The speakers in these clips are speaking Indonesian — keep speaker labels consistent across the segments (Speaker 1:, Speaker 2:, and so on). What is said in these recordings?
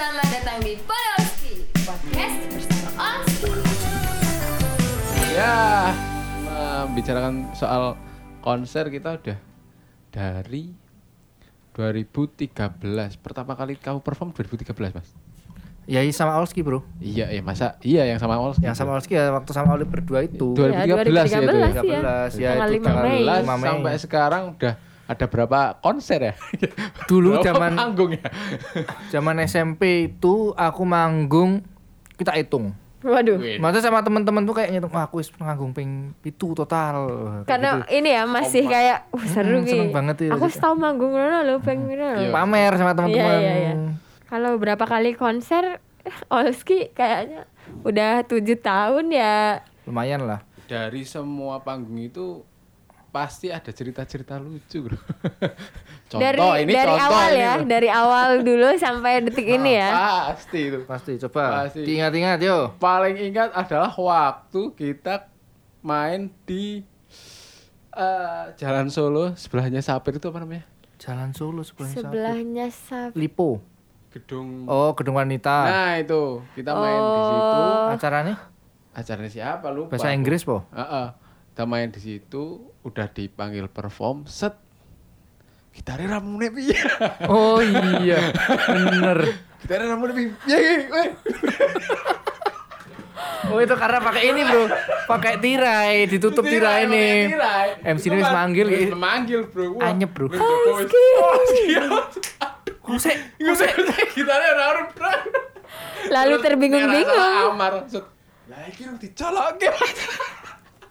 Speaker 1: ekonomi Podolski Podcast bersama Olski
Speaker 2: Ya, membicarakan soal konser kita udah dari 2013. Pertama kali kamu perform 2013, Mas.
Speaker 3: Ya iya sama Olski bro
Speaker 2: Iya, ya masa iya yang sama Ols.
Speaker 3: Yang sama Olski ya waktu sama Oli berdua itu
Speaker 2: Dua- 2013 ya itu ya?
Speaker 3: 13 ya
Speaker 4: 2013 ya.
Speaker 3: itu
Speaker 4: Tanggal lima Mei.
Speaker 3: tanggal
Speaker 2: 2013
Speaker 3: lima Mei.
Speaker 2: sampai sekarang udah ada berapa konser ya?
Speaker 3: Dulu
Speaker 2: Berapa
Speaker 3: zaman-
Speaker 2: panggung ya.
Speaker 3: Zaman SMP itu aku manggung Kita hitung
Speaker 4: Waduh.
Speaker 2: Iya.
Speaker 3: Maksudnya sama temen-temen tuh kayak ngitung Wah aku is manggung ping itu total Kayak
Speaker 4: Karena
Speaker 3: gitu.
Speaker 4: ini ya masih kayak uh, seru
Speaker 3: Hmm,
Speaker 4: gitu.
Speaker 3: seneng banget ya,
Speaker 4: Aku
Speaker 3: gitu.
Speaker 4: tahu manggung rono lo pengen rono.
Speaker 2: Iya.
Speaker 3: Pamer sama temen-temen
Speaker 4: Iya, iya, iya. Kalau berapa kali konser Olski kayaknya udah tujuh tahun ya.
Speaker 3: Lumayan lah
Speaker 2: Dari semua panggung itu pasti ada cerita-cerita lucu, Bro. Contoh
Speaker 4: dari
Speaker 2: ini
Speaker 4: dari
Speaker 2: contoh
Speaker 4: awal
Speaker 2: ini,
Speaker 4: ya,
Speaker 2: Bro.
Speaker 4: dari awal dulu sampai detik ini ya.
Speaker 2: Pasti itu.
Speaker 3: Pasti coba
Speaker 2: Pasti.
Speaker 3: Diingat-ingat yo
Speaker 2: paling ingat adalah waktu kita main di eh, Jalan Solo sebelahnya Sapir itu apa namanya?
Speaker 3: Jalan Solo sebelahnya Sabtu.
Speaker 4: Sebelahnya Sab.
Speaker 3: Lipo
Speaker 2: Gedung.
Speaker 3: Oh gedung wanita
Speaker 2: Nah itu kita main di situ.
Speaker 3: Acaranya
Speaker 2: Acaranya siapa lupa?
Speaker 3: Bahasa Inggris po
Speaker 2: Heeh. Kita main di situ, udah dipanggil perform, set. Gitarnya ramune piye?
Speaker 3: Oh iya Bener
Speaker 2: Gitarnya ramune piye? Piye, weh?
Speaker 3: Oh itu karena pakai ini bro, pakai tirai, ditutup tirai
Speaker 2: pakai
Speaker 3: nih.
Speaker 2: tirai.
Speaker 3: MC
Speaker 2: Itu
Speaker 3: ini wis
Speaker 2: kan,
Speaker 3: manggil,
Speaker 2: wis
Speaker 3: gitu.
Speaker 2: Manggil, Bro. Wah,
Speaker 3: Anyep, bro.
Speaker 2: wis Jokowi. Oh, siap.
Speaker 3: Kose,
Speaker 2: Gue gitarnya ora urip, Bro.
Speaker 4: Lalu
Speaker 2: Terus
Speaker 4: terbingung-bingung.
Speaker 2: ngerasa Amar maksud, lah iki lu dicolokke. Eh,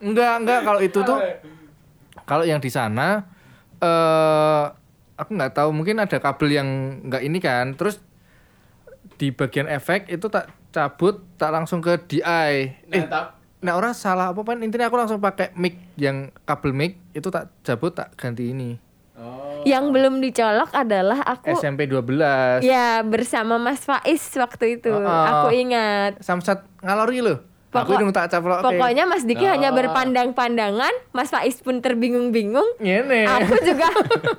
Speaker 3: enggak enggak kalau itu tuh, kalau yang di sana, eh aku nggak tahu mungkin ada kabel yang nggak ini kan, terus di bagian efek itu tak cabut, tak langsung ke DI.
Speaker 2: Nah,
Speaker 3: Eh,
Speaker 2: tap-
Speaker 3: nah orang salah apa pan? Intinya aku langsung pakai mic yang kabel mic itu tak cabut, tak ganti ini.
Speaker 2: Oh.
Speaker 3: Iya,
Speaker 4: Yang belum dicolok adalah aku
Speaker 3: SMP 12
Speaker 4: ya bersama Mas Faiz waktu itu.
Speaker 3: Oh, oh.
Speaker 4: Aku ingat.
Speaker 3: Samsat ngalori loh.
Speaker 4: Pokok-
Speaker 3: aku dong tak caplok
Speaker 4: Pokoknya Mas Diki
Speaker 2: Nah.
Speaker 4: hanya berpandang-pandangan, Mas Faiz pun terbingung-bingung.
Speaker 3: Ngene.
Speaker 4: Aku juga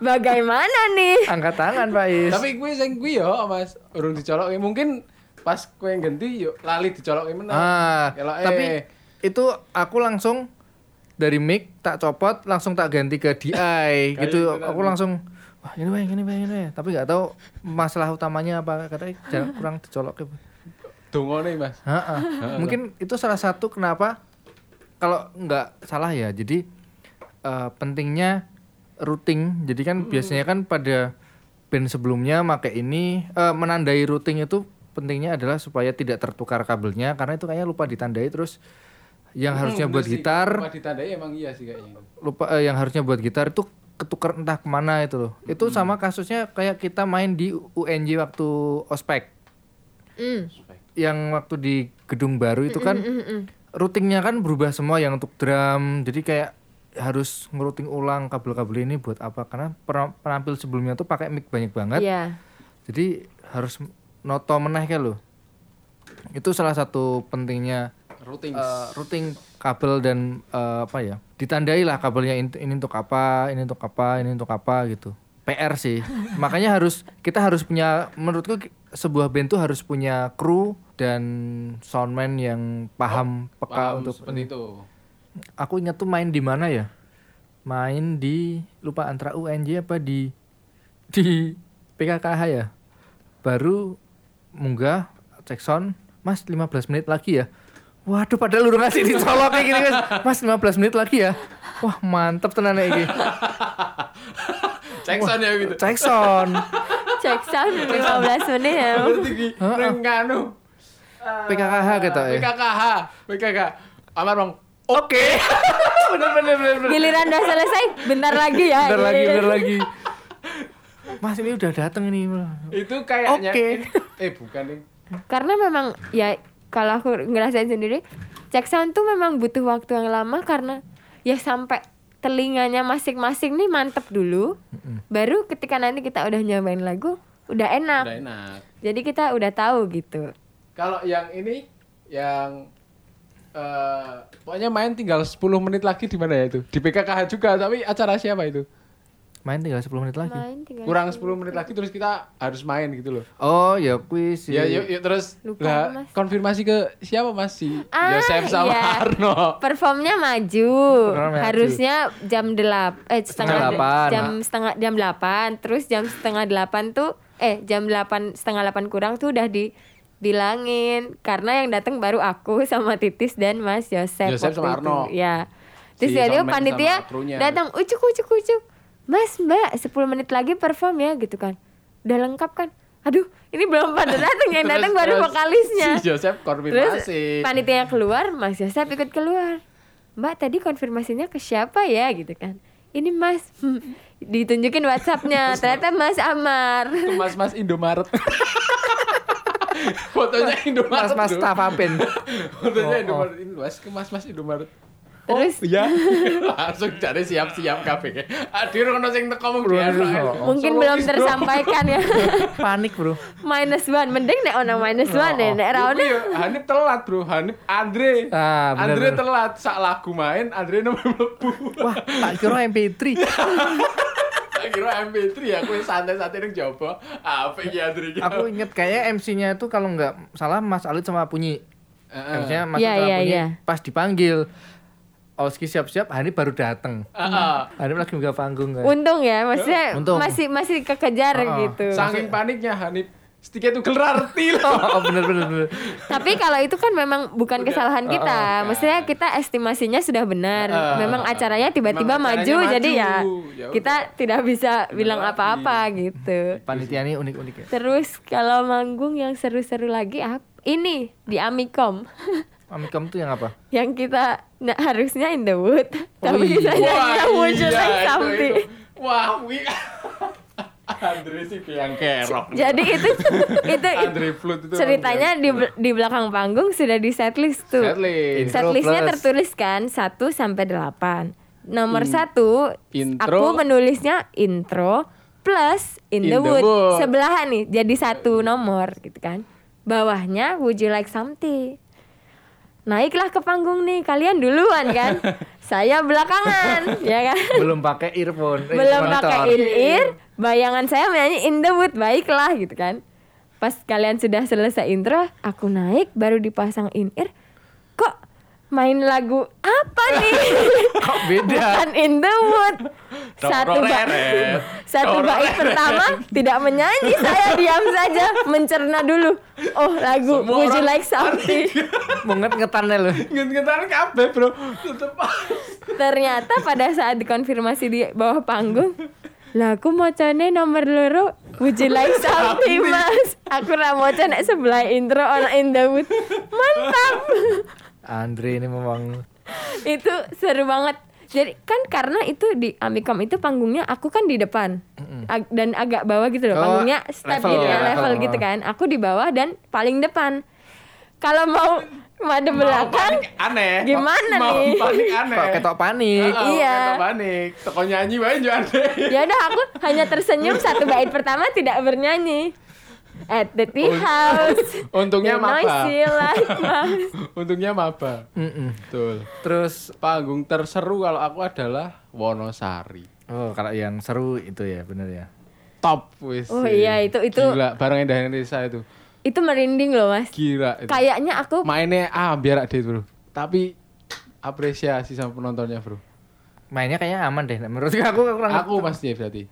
Speaker 4: bagaimana nih?
Speaker 3: Angkat tangan Pak Is.
Speaker 2: Tapi gue sing gue yo, Mas, urung dicolokke. Mungkin pas gue ganti yo lali dicolokke meneh.
Speaker 3: ah,
Speaker 2: Elok, eh.
Speaker 3: tapi itu aku langsung dari mic tak copot langsung tak ganti ke DI gitu.
Speaker 2: Kayak gitu
Speaker 3: Aku
Speaker 2: kan.
Speaker 3: langsung wah ini wah ini wah ini wah. tapi nggak tahu masalah utamanya apa katanya jangan kurang dicolok ya.
Speaker 2: dongone, Mas.
Speaker 3: Heeh. Mungkin itu salah satu kenapa kalau nggak salah ya. Jadi eh, pentingnya routing.
Speaker 2: Hmm.
Speaker 3: Jadi kan biasanya kan pada band sebelumnya make ini eh, menandai routing itu pentingnya adalah supaya tidak tertukar kabelnya karena itu kayaknya lupa ditandai terus yang harusnya
Speaker 2: Hmm,
Speaker 3: buat
Speaker 2: bener sih.
Speaker 3: gitar
Speaker 2: Cuma ditandai emang iya sih kayaknya.
Speaker 3: lupa eh, yang harusnya buat gitar itu ketukar entah kemana itu loh. Itu
Speaker 2: Hmm.
Speaker 3: sama kasusnya kayak kita main di UNJ waktu ospek
Speaker 4: Hmm,
Speaker 3: yang waktu di gedung baru itu kan routingnya kan berubah semua yang untuk drum jadi kayak harus ngeruting ulang kabel-kabel ini buat apa karena per- penampil sebelumnya tuh pakai mic banyak banget
Speaker 4: Iya.
Speaker 3: jadi harus noto meneh kayak loh itu salah satu pentingnya
Speaker 2: Routing.
Speaker 3: eh, routing kabel dan eh, apa ya ditandai lah kabelnya in- ini untuk apa ini untuk apa ini untuk apa gitu PR sih makanya harus kita harus punya menurutku ki- sebuah band tuh harus punya kru dan soundman yang paham
Speaker 2: Oh,
Speaker 3: peka
Speaker 2: Paham
Speaker 3: untuk
Speaker 2: seperti itu.
Speaker 3: aku ingat tuh main di mana ya main di lupa antara UNJ apa di di PKKH ya baru munggah cek sound mas 15 menit lagi ya waduh padahal lu ngasih dicolok kayak gini mas mas 15 menit lagi ya wah mantep tenan ya ini
Speaker 2: Cek sound ya gitu.
Speaker 3: cek sound
Speaker 4: Cek sound 15 menit ya.
Speaker 2: Berarti ki ning nganu.
Speaker 3: PKKH gitu ya
Speaker 2: PKKH, PKK. Amar Bang.
Speaker 3: oke bener bener bener bener
Speaker 4: Giliran udah selesai, bentar lagi ya.
Speaker 3: bener
Speaker 4: Iya,
Speaker 3: lagi
Speaker 4: iya.
Speaker 3: bener lagi mas ini udah dateng ini
Speaker 2: Itu kayaknya
Speaker 3: Oke.
Speaker 2: eh bukan nih.
Speaker 4: Karena memang ya kalau aku ngerasain sendiri, cek sound tuh memang butuh waktu yang lama karena ya sampai telinganya masing-masing nih mantep dulu. Baru ketika nanti kita udah nyobain lagu, udah
Speaker 3: Nah.
Speaker 4: enak.
Speaker 2: Udah enak.
Speaker 4: Jadi kita udah tahu gitu.
Speaker 2: Kalau yang ini yang eh pokoknya main tinggal 10 menit lagi di mana ya itu? Di PKKH juga, tapi acara siapa itu?
Speaker 3: main tinggal 10 menit lagi.
Speaker 4: main tinggal
Speaker 2: kurang 10 menit lagi terus kita harus main gitu loh
Speaker 3: Oh, ya kuis.
Speaker 2: ya yuk, yuk terus
Speaker 4: Lupa,
Speaker 2: lah,
Speaker 4: Mas.
Speaker 2: konfirmasi ke siapa mas si
Speaker 4: Ah,
Speaker 2: Joseph sama
Speaker 4: iya.
Speaker 2: Arno
Speaker 4: performnya maju
Speaker 3: Performnya maju.
Speaker 4: harusnya jam delap eh setengah
Speaker 3: delapan.
Speaker 4: jam
Speaker 2: nah.
Speaker 4: setengah jam delapan terus jam setengah delapan tuh eh jam delapan setengah delapan kurang tuh udah dibilangin karena yang datang baru aku sama Titis dan Mas Yosef
Speaker 2: Yosef
Speaker 4: waktu
Speaker 2: sama
Speaker 4: itu.
Speaker 2: Arno.
Speaker 4: ya terus
Speaker 2: Si
Speaker 4: jadi
Speaker 2: soundman
Speaker 4: panitia
Speaker 2: sama krunya.
Speaker 4: datang ucuk ucuk ucuk Mas Mbak 10 menit lagi perform ya gitu kan udah lengkap kan aduh ini belum pada datang yang
Speaker 2: Terus-
Speaker 4: datang baru
Speaker 2: terus
Speaker 4: vokalisnya
Speaker 2: si Joseph
Speaker 4: Terus
Speaker 2: konfirmasi
Speaker 4: panitia keluar, Mas Yosep ikut keluar. Mbak tadi konfirmasinya ke siapa ya gitu kan? Ini Mas Hmm. ditunjukin WhatsAppnya, ternyata Mas Amar.
Speaker 2: itu mas-mas Indomaret fotonya Indomaret
Speaker 3: Mas Mas
Speaker 2: loh.
Speaker 3: Tafapin.
Speaker 2: fotonya
Speaker 3: Oh, oh.
Speaker 2: Indomaret ini mas ke mas-mas Indomaret
Speaker 4: Terus-
Speaker 2: oh, iya langsung cari siap-siap kabeh aduh ono sing teko mung
Speaker 3: Bro,
Speaker 2: dia
Speaker 3: aduh,
Speaker 2: aduh.
Speaker 3: oh,
Speaker 4: Mungkin
Speaker 2: Solo
Speaker 4: belum
Speaker 2: is, bro.
Speaker 4: tersampaikan ya.
Speaker 3: Panik, Bro.
Speaker 4: minus one, mending nek ono minus one ya, nek ra ono.
Speaker 2: Iya, Hanif telat bro, Hanif Andre
Speaker 3: Ah, bener,
Speaker 2: Andre
Speaker 3: bener.
Speaker 2: telat, sak lagu main Andre nomor mlebu
Speaker 3: Wah, tak kira MP3.
Speaker 2: Tak kira MP3 ya, aku santai-santai nang jaba Apa iki Andre iki?
Speaker 3: Aku inget kayaknya MC-nya itu kalau nggak salah Mas Alit sama Punyi.
Speaker 2: Heeh.
Speaker 3: MC-nya Mas
Speaker 4: Iya,
Speaker 3: Alit sama
Speaker 4: iya,
Speaker 3: Punyi
Speaker 4: iya.
Speaker 3: pas dipanggil. Oski siap-siap, Hanif baru datang.
Speaker 2: Heeh.
Speaker 3: Hanif lagi nggak panggung kan.
Speaker 4: Untung ya, maksudnya
Speaker 3: Untung.
Speaker 4: masih masih kekejar
Speaker 3: Oh, oh.
Speaker 4: gitu.
Speaker 2: Saking paniknya Hanif Stiket tuh gelar
Speaker 3: Oh, oh, bener bener bener.
Speaker 4: Tapi kalau itu kan memang bukan kesalahan kita.
Speaker 2: Oh,
Speaker 4: Maksudnya kita estimasinya sudah benar.
Speaker 2: Heeh.
Speaker 4: memang acaranya tiba-tiba
Speaker 2: eh, Memang
Speaker 4: maju,
Speaker 2: acaranya maju.
Speaker 4: jadi ya
Speaker 2: Ya
Speaker 4: kita tidak bisa bilang
Speaker 2: lagi.
Speaker 4: apa-apa gitu.
Speaker 3: Panitia ini unik-unik ya.
Speaker 4: Terus kalau manggung yang seru-seru lagi ap- ini di Amikom
Speaker 3: Amikom tuh yang apa?
Speaker 4: yang kita na- harusnya in the wood
Speaker 2: Oh
Speaker 4: tapi
Speaker 3: iya.
Speaker 4: kita nyanyinya muncul like something.
Speaker 2: iya, Wah, wi. Andre sih yang kerok.
Speaker 4: Jadi itu itu
Speaker 2: Andre Flut itu
Speaker 4: ceritanya di di belakang panggung sudah di setlist tuh.
Speaker 2: Setlist.
Speaker 3: Intro
Speaker 4: Setlistnya
Speaker 3: plus.
Speaker 4: tertulis kan 1 sampai 8 Nomor satu
Speaker 2: intro.
Speaker 4: Aku menulisnya intro Plus in,
Speaker 2: In the
Speaker 4: the, wood.
Speaker 2: wood.
Speaker 4: Sebelahan nih Jadi satu nomor gitu kan Bawahnya would you like something Naiklah ke panggung nih Kalian duluan kan Saya belakangan ya kan
Speaker 3: Belum pakai earphone. eh,
Speaker 4: belum
Speaker 3: monitor.
Speaker 4: pakai in ear bayangan saya menyanyi in the wood baiklah gitu kan pas kalian sudah selesai intro aku naik baru dipasang in ear kok main lagu apa nih
Speaker 3: Kok beda?
Speaker 4: bukan in the wood satu bait
Speaker 2: Dororeret.
Speaker 4: satu bait
Speaker 2: Dororeret.
Speaker 4: pertama tidak menyanyi saya diam saja mencerna dulu oh lagu
Speaker 2: Semua
Speaker 4: would you
Speaker 2: orang
Speaker 4: like something
Speaker 3: Munget ngetannya loh.
Speaker 2: Ngentan kabeh, Bro. Tetep
Speaker 4: ternyata pada saat dikonfirmasi di bawah panggung lah aku mocone nomor loro would you like something mas aku ra moco nek sebelah intro on in the wood mantap
Speaker 3: Andre ini memang
Speaker 4: itu seru banget jadi kan karena itu di Amikom itu panggungnya aku kan di depan Ag- dan agak bawah gitu loh
Speaker 3: Oh,
Speaker 4: panggungnya step
Speaker 3: level,
Speaker 4: gitu ya,
Speaker 3: ya,
Speaker 4: level,
Speaker 3: level.
Speaker 4: gitu kan aku di bawah dan paling depan kalau mau madep belakang
Speaker 2: panik aneh.
Speaker 4: Gimana
Speaker 2: Mau
Speaker 4: nih?
Speaker 2: panik aneh.
Speaker 3: kok ketok panik.
Speaker 2: Heeh,
Speaker 4: Iya.
Speaker 2: ketok panik. Teko nyanyi wae yo aneh.
Speaker 4: Ya udah aku hanya tersenyum satu bait pertama tidak bernyanyi. At the tea
Speaker 2: Un-
Speaker 4: house.
Speaker 2: Oh, Untungnya
Speaker 4: the
Speaker 2: maba.
Speaker 4: noisy light house.
Speaker 2: Untungnya maba.
Speaker 3: Mm-mm.
Speaker 2: Betul.
Speaker 3: Terus
Speaker 2: Panggung terseru kalau aku adalah Wonosari.
Speaker 3: oh kalau yang seru itu ya bener ya.
Speaker 2: Top wis.
Speaker 4: Oh iya, itu- itu-
Speaker 2: Gila, bareng Endah Indonesia itu.
Speaker 4: Itu merinding loh, Mas.
Speaker 2: Gila itu.
Speaker 4: Kayaknya aku
Speaker 2: mainnya ah biar ada bro tapi apresiasi sama penontonnya bro
Speaker 3: Mainnya kayaknya aman deh. Menurut aku kurang
Speaker 2: aku pasti berarti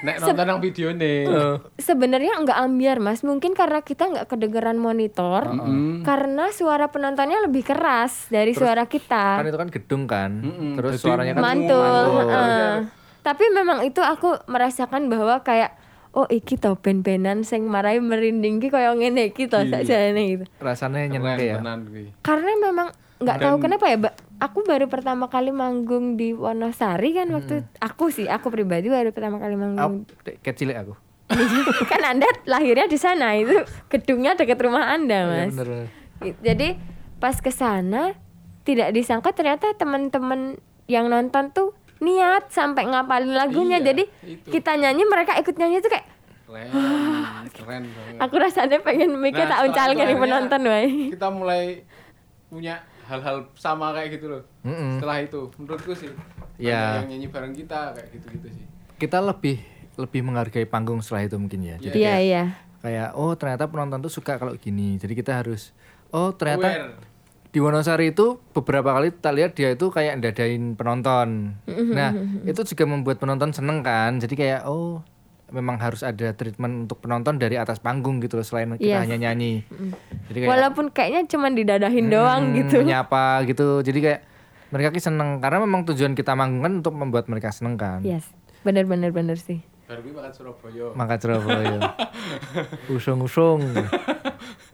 Speaker 2: nek nonton nang video nih
Speaker 3: Oh.
Speaker 4: sebenarnya nggak ambiar, Mas. Mungkin karena kita nggak kedengeran monitor.
Speaker 2: Mm-mm.
Speaker 4: Karena suara penontonnya lebih keras dari
Speaker 3: kan
Speaker 4: suara kita.
Speaker 3: itu kan gedung kan.
Speaker 2: Mm-mm.
Speaker 3: Terus
Speaker 2: Jadi
Speaker 3: suaranya kan
Speaker 2: man-
Speaker 4: Mantul.
Speaker 2: mantul.
Speaker 4: heeh. Tapi memang itu aku merasakan bahwa kayak oh iki to ben-benan sing marai merinding ki koyo ngene iki to
Speaker 2: Iya.
Speaker 4: sakjane gitu.
Speaker 3: rasanya
Speaker 2: Keren,
Speaker 3: nyenengke ya.
Speaker 2: tenan kuwi.
Speaker 4: karena memang nggak tahu
Speaker 2: Dan-
Speaker 4: kenapa ya Mbak. aku baru pertama kali manggung di Wonosari kan waktu aku sih aku pribadi baru pertama kali
Speaker 3: Aku
Speaker 4: manggung
Speaker 3: kecil aku.
Speaker 4: kan anda lahirnya di sana itu gedungnya dekat rumah anda
Speaker 3: Iya,
Speaker 4: Ya, mas
Speaker 3: bener, bener.
Speaker 4: jadi pas ke sana tidak disangka ternyata teman-teman yang nonton tuh niat sampai ngapalin lagunya
Speaker 2: Iya,
Speaker 4: jadi
Speaker 2: itu.
Speaker 4: kita nyanyi mereka ikut nyanyi tuh kayak
Speaker 2: keren keren banget
Speaker 4: Ah, aku rasanya pengen
Speaker 2: Nah, ya.
Speaker 4: mikir
Speaker 2: Iya,
Speaker 4: tak uncal
Speaker 2: setelah
Speaker 4: kali
Speaker 2: itu
Speaker 4: penonton
Speaker 2: akhirnya
Speaker 4: wae
Speaker 2: kita mulai punya hal-hal sama kayak gitu loh
Speaker 3: Mm-mm.
Speaker 2: setelah itu menurutku sih
Speaker 3: Ya.
Speaker 2: Banyak yang nyanyi bareng kita kayak gitu gitu sih
Speaker 3: kita lebih lebih menghargai panggung setelah itu mungkin ya. Jadi
Speaker 4: Iya,
Speaker 3: kayak,
Speaker 4: iya.
Speaker 3: kayak, oh ternyata penonton tuh suka kalau gini. Jadi kita harus oh ternyata
Speaker 2: Aware.
Speaker 3: di Wonosari itu beberapa kali tak lihat dia itu kayak dadain penonton.
Speaker 4: Mm-hmm.
Speaker 3: Nah, itu juga membuat penonton seneng kan. Jadi kayak oh memang harus ada treatment untuk penonton dari atas panggung gitu loh selain kita
Speaker 4: Yes.
Speaker 3: hanya nyanyi. Jadi
Speaker 4: Walaupun kayaknya cuman didadahin doang
Speaker 3: Hmm,
Speaker 4: gitu.
Speaker 3: menyapa gitu jadi kayak mereka ki seneng karena memang tujuan kita manggung kan untuk membuat mereka seneng kan
Speaker 4: Yes. Bener bener bener sih.
Speaker 2: Baru gue makan Surabaya.
Speaker 3: maka Surabaya usung usung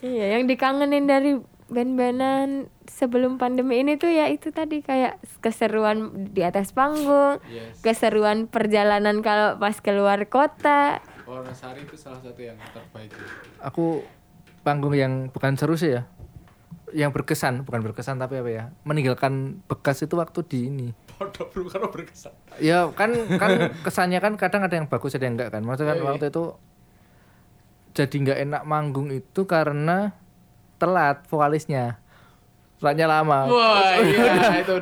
Speaker 4: Iya, yang dikangenin dari band-bandan sebelum pandemi ini tuh ya itu tadi kayak keseruan di atas panggung,
Speaker 2: Yes.
Speaker 4: keseruan perjalanan kalau pas keluar kota.
Speaker 2: Wonosari itu salah satu yang terbaik.
Speaker 3: aku panggung yang bukan seru sih ya yang berkesan bukan berkesan tapi apa ya meninggalkan bekas itu waktu di ini
Speaker 2: Podo bro karo berkesan.
Speaker 3: ya kan kan kesannya kan kadang ada yang bagus ada yang enggak kan maksudnya kan
Speaker 2: Iya, iya.
Speaker 3: waktu itu jadi nggak enak manggung itu karena telat vokalisnya telatnya lama
Speaker 2: Wah, iya itu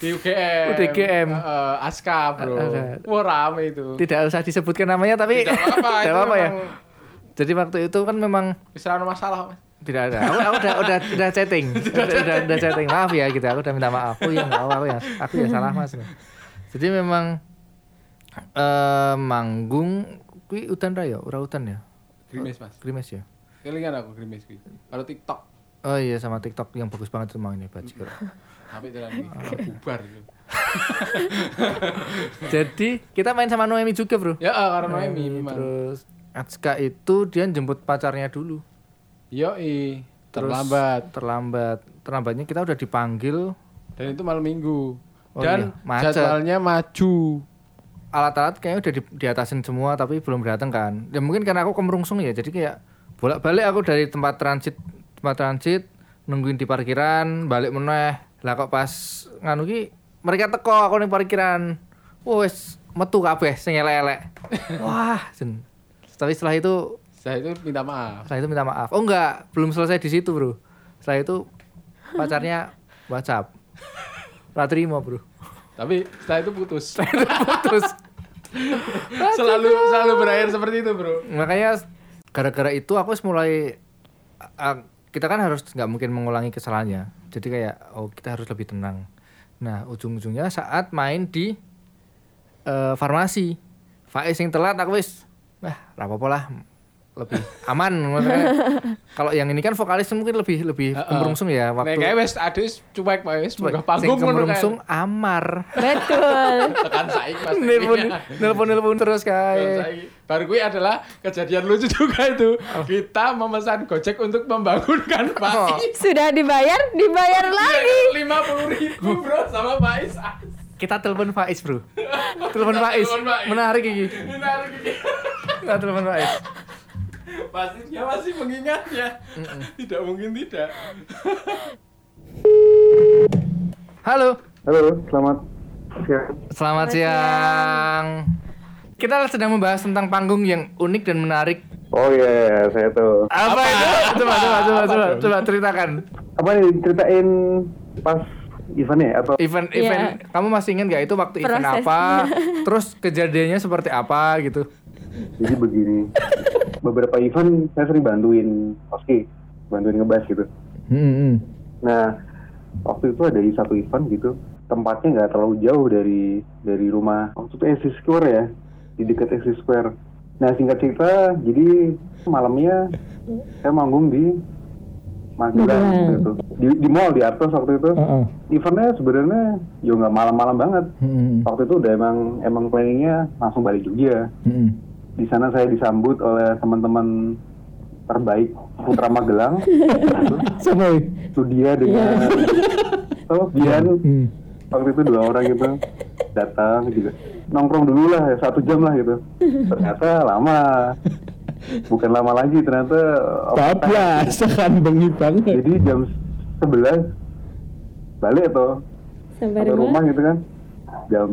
Speaker 2: di UGM.
Speaker 3: UGM.
Speaker 2: Heeh, Aska, Bro.
Speaker 3: Ada.
Speaker 2: Wah, rame itu.
Speaker 3: tidak usah disebutkan namanya tapi
Speaker 2: Tidak apa-apa,
Speaker 3: tidak
Speaker 2: itu
Speaker 3: apa-apa ya
Speaker 2: memang-
Speaker 3: jadi waktu itu kan memang
Speaker 2: Bisa ada masalah, Mas.
Speaker 3: tidak ada aku, aku udah udah udah chatting udah, udah, udah chatting maaf ya gitu aku udah minta maaf aku yang apa aku ya aku ya salah mas jadi memang eh manggung kui utan raya ora utan ya
Speaker 2: Grimis, Mas.
Speaker 3: krimes ya
Speaker 2: Kelingan aku grimis kuwi. Kalau TikTok,
Speaker 3: oh iya sama tiktok yang bagus banget tuh mangnya bajigur
Speaker 2: tapi jalan iki bubar gitu. itu.
Speaker 3: jadi kita main sama Noemi juga bro
Speaker 2: Ya, eh, karena Noemi memang.
Speaker 3: terus Atska itu dia jemput pacarnya dulu
Speaker 2: Yo,
Speaker 3: Terus
Speaker 2: terlambat.
Speaker 3: terlambat terlambatnya kita udah dipanggil
Speaker 2: Dan itu malam Minggu.
Speaker 3: Oh,
Speaker 2: Dan
Speaker 3: iya, macet.
Speaker 2: jadwalnya maju.
Speaker 3: alat-alat kayaknya udah di, diatasin semua tapi belum datang kan ya mungkin karena aku kemerungsung ya jadi kayak bolak-balik aku dari tempat transit tempat transit nungguin di parkiran balik meneh lah kok pas nganu ki mereka teko aku ning parkiran wes metu kabeh sing elek-elek wah jen. tapi setelah itu
Speaker 2: Saya itu minta maaf.
Speaker 3: setelah itu minta maaf oh enggak belum selesai di situ bro setelah itu pacarnya WhatsApp Ra terima bro
Speaker 2: Tapi setelah itu putus.
Speaker 3: terus
Speaker 2: selalu selalu berakhir seperti itu, Bro.
Speaker 3: makanya gara-gara itu aku mulai a- a- kita kan harus nggak mungkin mengulangi kesalahannya jadi kayak oh kita harus lebih tenang nah ujung-ujungnya saat main di eh, farmasi Faiz yang telat aku wis wah rapopo lah lebih aman Makanya kalau yang ini kan vokalis mungkin lebih lebih
Speaker 2: Heeh.
Speaker 3: kemerungsung ya
Speaker 2: Nek
Speaker 3: waktu
Speaker 2: kayak wis adus cuek Pak wis
Speaker 3: Coba,
Speaker 2: munggah
Speaker 3: sing
Speaker 2: panggung ngono
Speaker 3: kemerungsung
Speaker 2: kan.
Speaker 3: amar
Speaker 4: Betul.
Speaker 2: Tekan saiki Mas. Iya.
Speaker 3: nelpon nelpon nelpon terus
Speaker 2: Tekan
Speaker 3: kayak
Speaker 2: saiki. Baru kui adalah kejadian lucu juga itu. Kita memesan Gojek untuk membangunkan Pak.
Speaker 4: Sudah dibayar, dibayar lagi.
Speaker 2: Lima puluh ribu bro sama Pak Is. Ah.
Speaker 3: kita telepon Faiz bro telepon Faiz
Speaker 2: Telepon Faiz.
Speaker 3: menarik gigi
Speaker 2: Menarik ini.
Speaker 3: kita telepon Faiz
Speaker 2: Pastinya masih mengingatnya. Tidak mungkin tidak.
Speaker 3: halo
Speaker 5: Halo, selamat siang.
Speaker 3: selamat siang kita sedang membahas tentang panggung yang unik dan menarik
Speaker 5: Oh iya, iya, saya tuh.
Speaker 3: apa, itu coba coba coba coba coba ceritakan
Speaker 5: Apa nih ceritain pas eventnya ya? atau
Speaker 3: event
Speaker 4: Iya.
Speaker 3: event kamu masih ingat nggak itu waktu event
Speaker 4: Prosesnya.
Speaker 3: apa terus kejadiannya seperti apa gitu
Speaker 5: jadi begini. Beberapa event saya sering bantuin Oski, bantuin ngebas gitu. Nah, waktu itu ada di satu event gitu, tempatnya nggak terlalu jauh dari dari rumah. Waktu itu SC Square ya, di dekat SC Square. Nah, singkat cerita, jadi malamnya saya manggung di Magelang gitu. Di, di mall di Artos waktu itu. Eventnya sebenarnya ya nggak malam-malam banget. Waktu itu udah emang emang planningnya langsung balik Jogja. Di sana saya disambut oleh teman-teman terbaik Putra Magelang. itu dia dengan
Speaker 6: Iya.
Speaker 5: oh Bian
Speaker 6: Hmm.
Speaker 5: waktu itu dua orang gitu datang gitu nongkrong dulu lah ya, satu jam lah gitu ternyata lama bukan lama lagi ternyata oh,
Speaker 6: bablas kan bengi banget
Speaker 5: jadi jam 11 balik tuh
Speaker 4: Sampai
Speaker 5: ke
Speaker 4: rumah.
Speaker 5: rumah gitu kan jam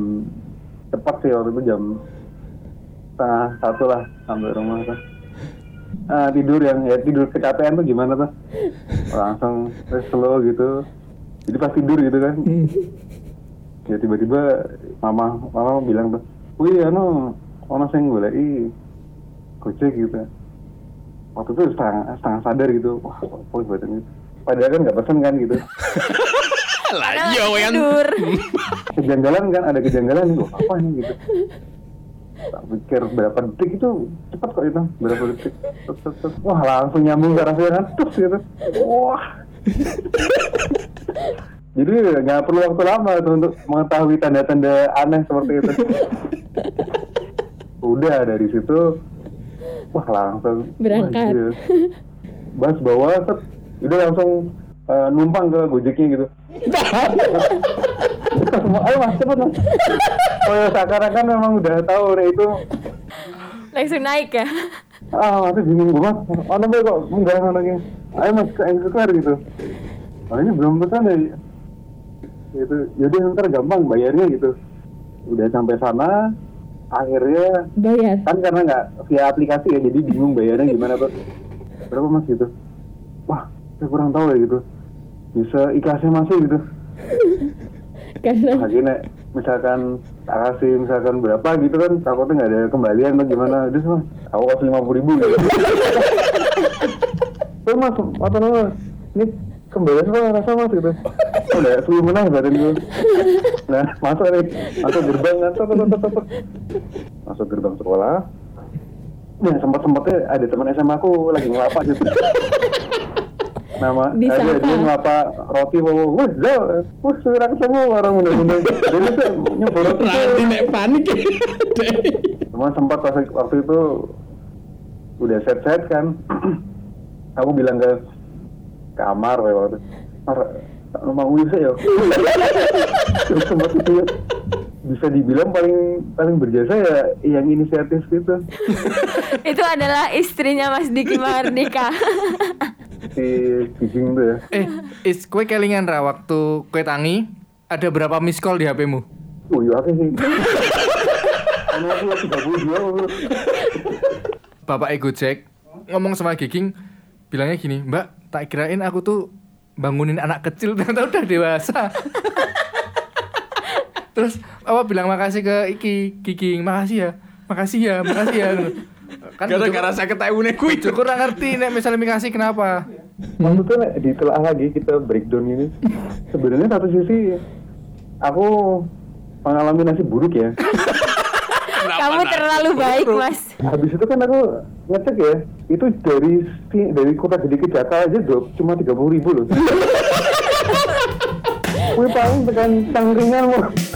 Speaker 5: tepat sih waktu itu jam setengah satu lah sampai rumah tuh Ah, tidur yang ya tidur kecapean tuh gimana tuh langsung terus slow gitu jadi pas tidur gitu kan ya tiba-tiba mama mama bilang tuh wih anu orang yang golek "Ih, gojek gitu waktu itu setengah, setengah sadar gitu wah kok kok buatan gitu padahal kan nggak pesen kan gitu
Speaker 2: Lah iya yang
Speaker 4: Nah, tidur
Speaker 5: kejanggalan kan ada kejanggalan nih "Wah, apa ini gitu tak pikir berapa detik itu cepat kok itu berapa detik Tut, tut, tut. wah langsung nyambung ke rasanya kan terus gitu wah jadi nggak perlu waktu lama tuh untuk mengetahui tanda-tanda aneh seperti itu udah dari situ wah langsung
Speaker 7: Berangkat.
Speaker 5: Wah, gila. bas bawa set, udah langsung eh, numpang ke gojeknya gitu Semua, ayo mas cepet mas oh ya seakan-akan memang udah tahu Re, itu
Speaker 4: langsung naik ya
Speaker 5: ah mas bingung gue mas oh nambah kok enggak anaknya ayo mas ke yang keluar gitu oh ini belum pesan ya gitu jadi ntar gampang bayarnya gitu udah sampai sana akhirnya
Speaker 7: Bayar.
Speaker 5: kan karena nggak via aplikasi ya jadi bingung bayarnya gimana tuh berapa mas gitu wah saya kurang tahu ya gitu bisa ikhlasnya masih gitu
Speaker 7: Karena
Speaker 5: lagi nek misalkan tak kasih misalkan berapa gitu kan takutnya nggak ada kembalian atau gimana terus mas aku kasih lima puluh ribu gitu terus mas atau mas ini kembalian apa rasa mas gitu Oh, udah sepuluh menang badan gue nah masuk nih masuk gerbang kan tok, tok, tok, tok, tok. masuk gerbang sekolah Nah, sempat sempatnya ada teman SMA aku lagi ngelapa gitu. Nama
Speaker 7: Disapa.
Speaker 5: ada dia ngelapa roti bawa wah dah, wah serang semua orang bener-bener. Jadi tuh nyebur roti.
Speaker 6: Randy nek panik ya. Dek.
Speaker 5: Cuma sempat pas waktu itu udah set-set kan. aku bilang ke kamar kayak waktu itu, Mar, tak rumah gue sih ya. Terus sempat itu ya, bisa dibilang paling paling berjasa ya yang inisiatif gitu.
Speaker 4: itu adalah istrinya Mas Diki Mahardika
Speaker 5: si Kijing tuh ya
Speaker 3: Eh, is kue kelingan ra waktu kue tangi ada berapa miss call di HP-mu?
Speaker 5: oh iya apa sih Karena aku lagi 32 aku.
Speaker 3: Bapak Ego Jack ngomong sama Giging bilangnya gini, "Mbak, tak kirain aku tuh bangunin anak kecil ternyata udah dewasa." Terus apa bilang makasih ke Iki, Giging, makasih ya. Makasih ya, makasih ya. kan
Speaker 2: Gara-gara
Speaker 3: bojoku-
Speaker 2: saya ketahuan kuwi.
Speaker 3: bojoku ra ngerti nek misalnya mikasi kenapa.
Speaker 5: Waktu itu nek, ditelaah lagi kita breakdown ini sebenarnya satu sisi aku mengalami nasib buruk ya
Speaker 4: kamu terlalu baik Mas
Speaker 5: habis itu kan aku ngecek ya itu dari si- dari kota gede ke Jakarta aja tuh cuma 30 ribu loh Wih paling tekan cangkringan loh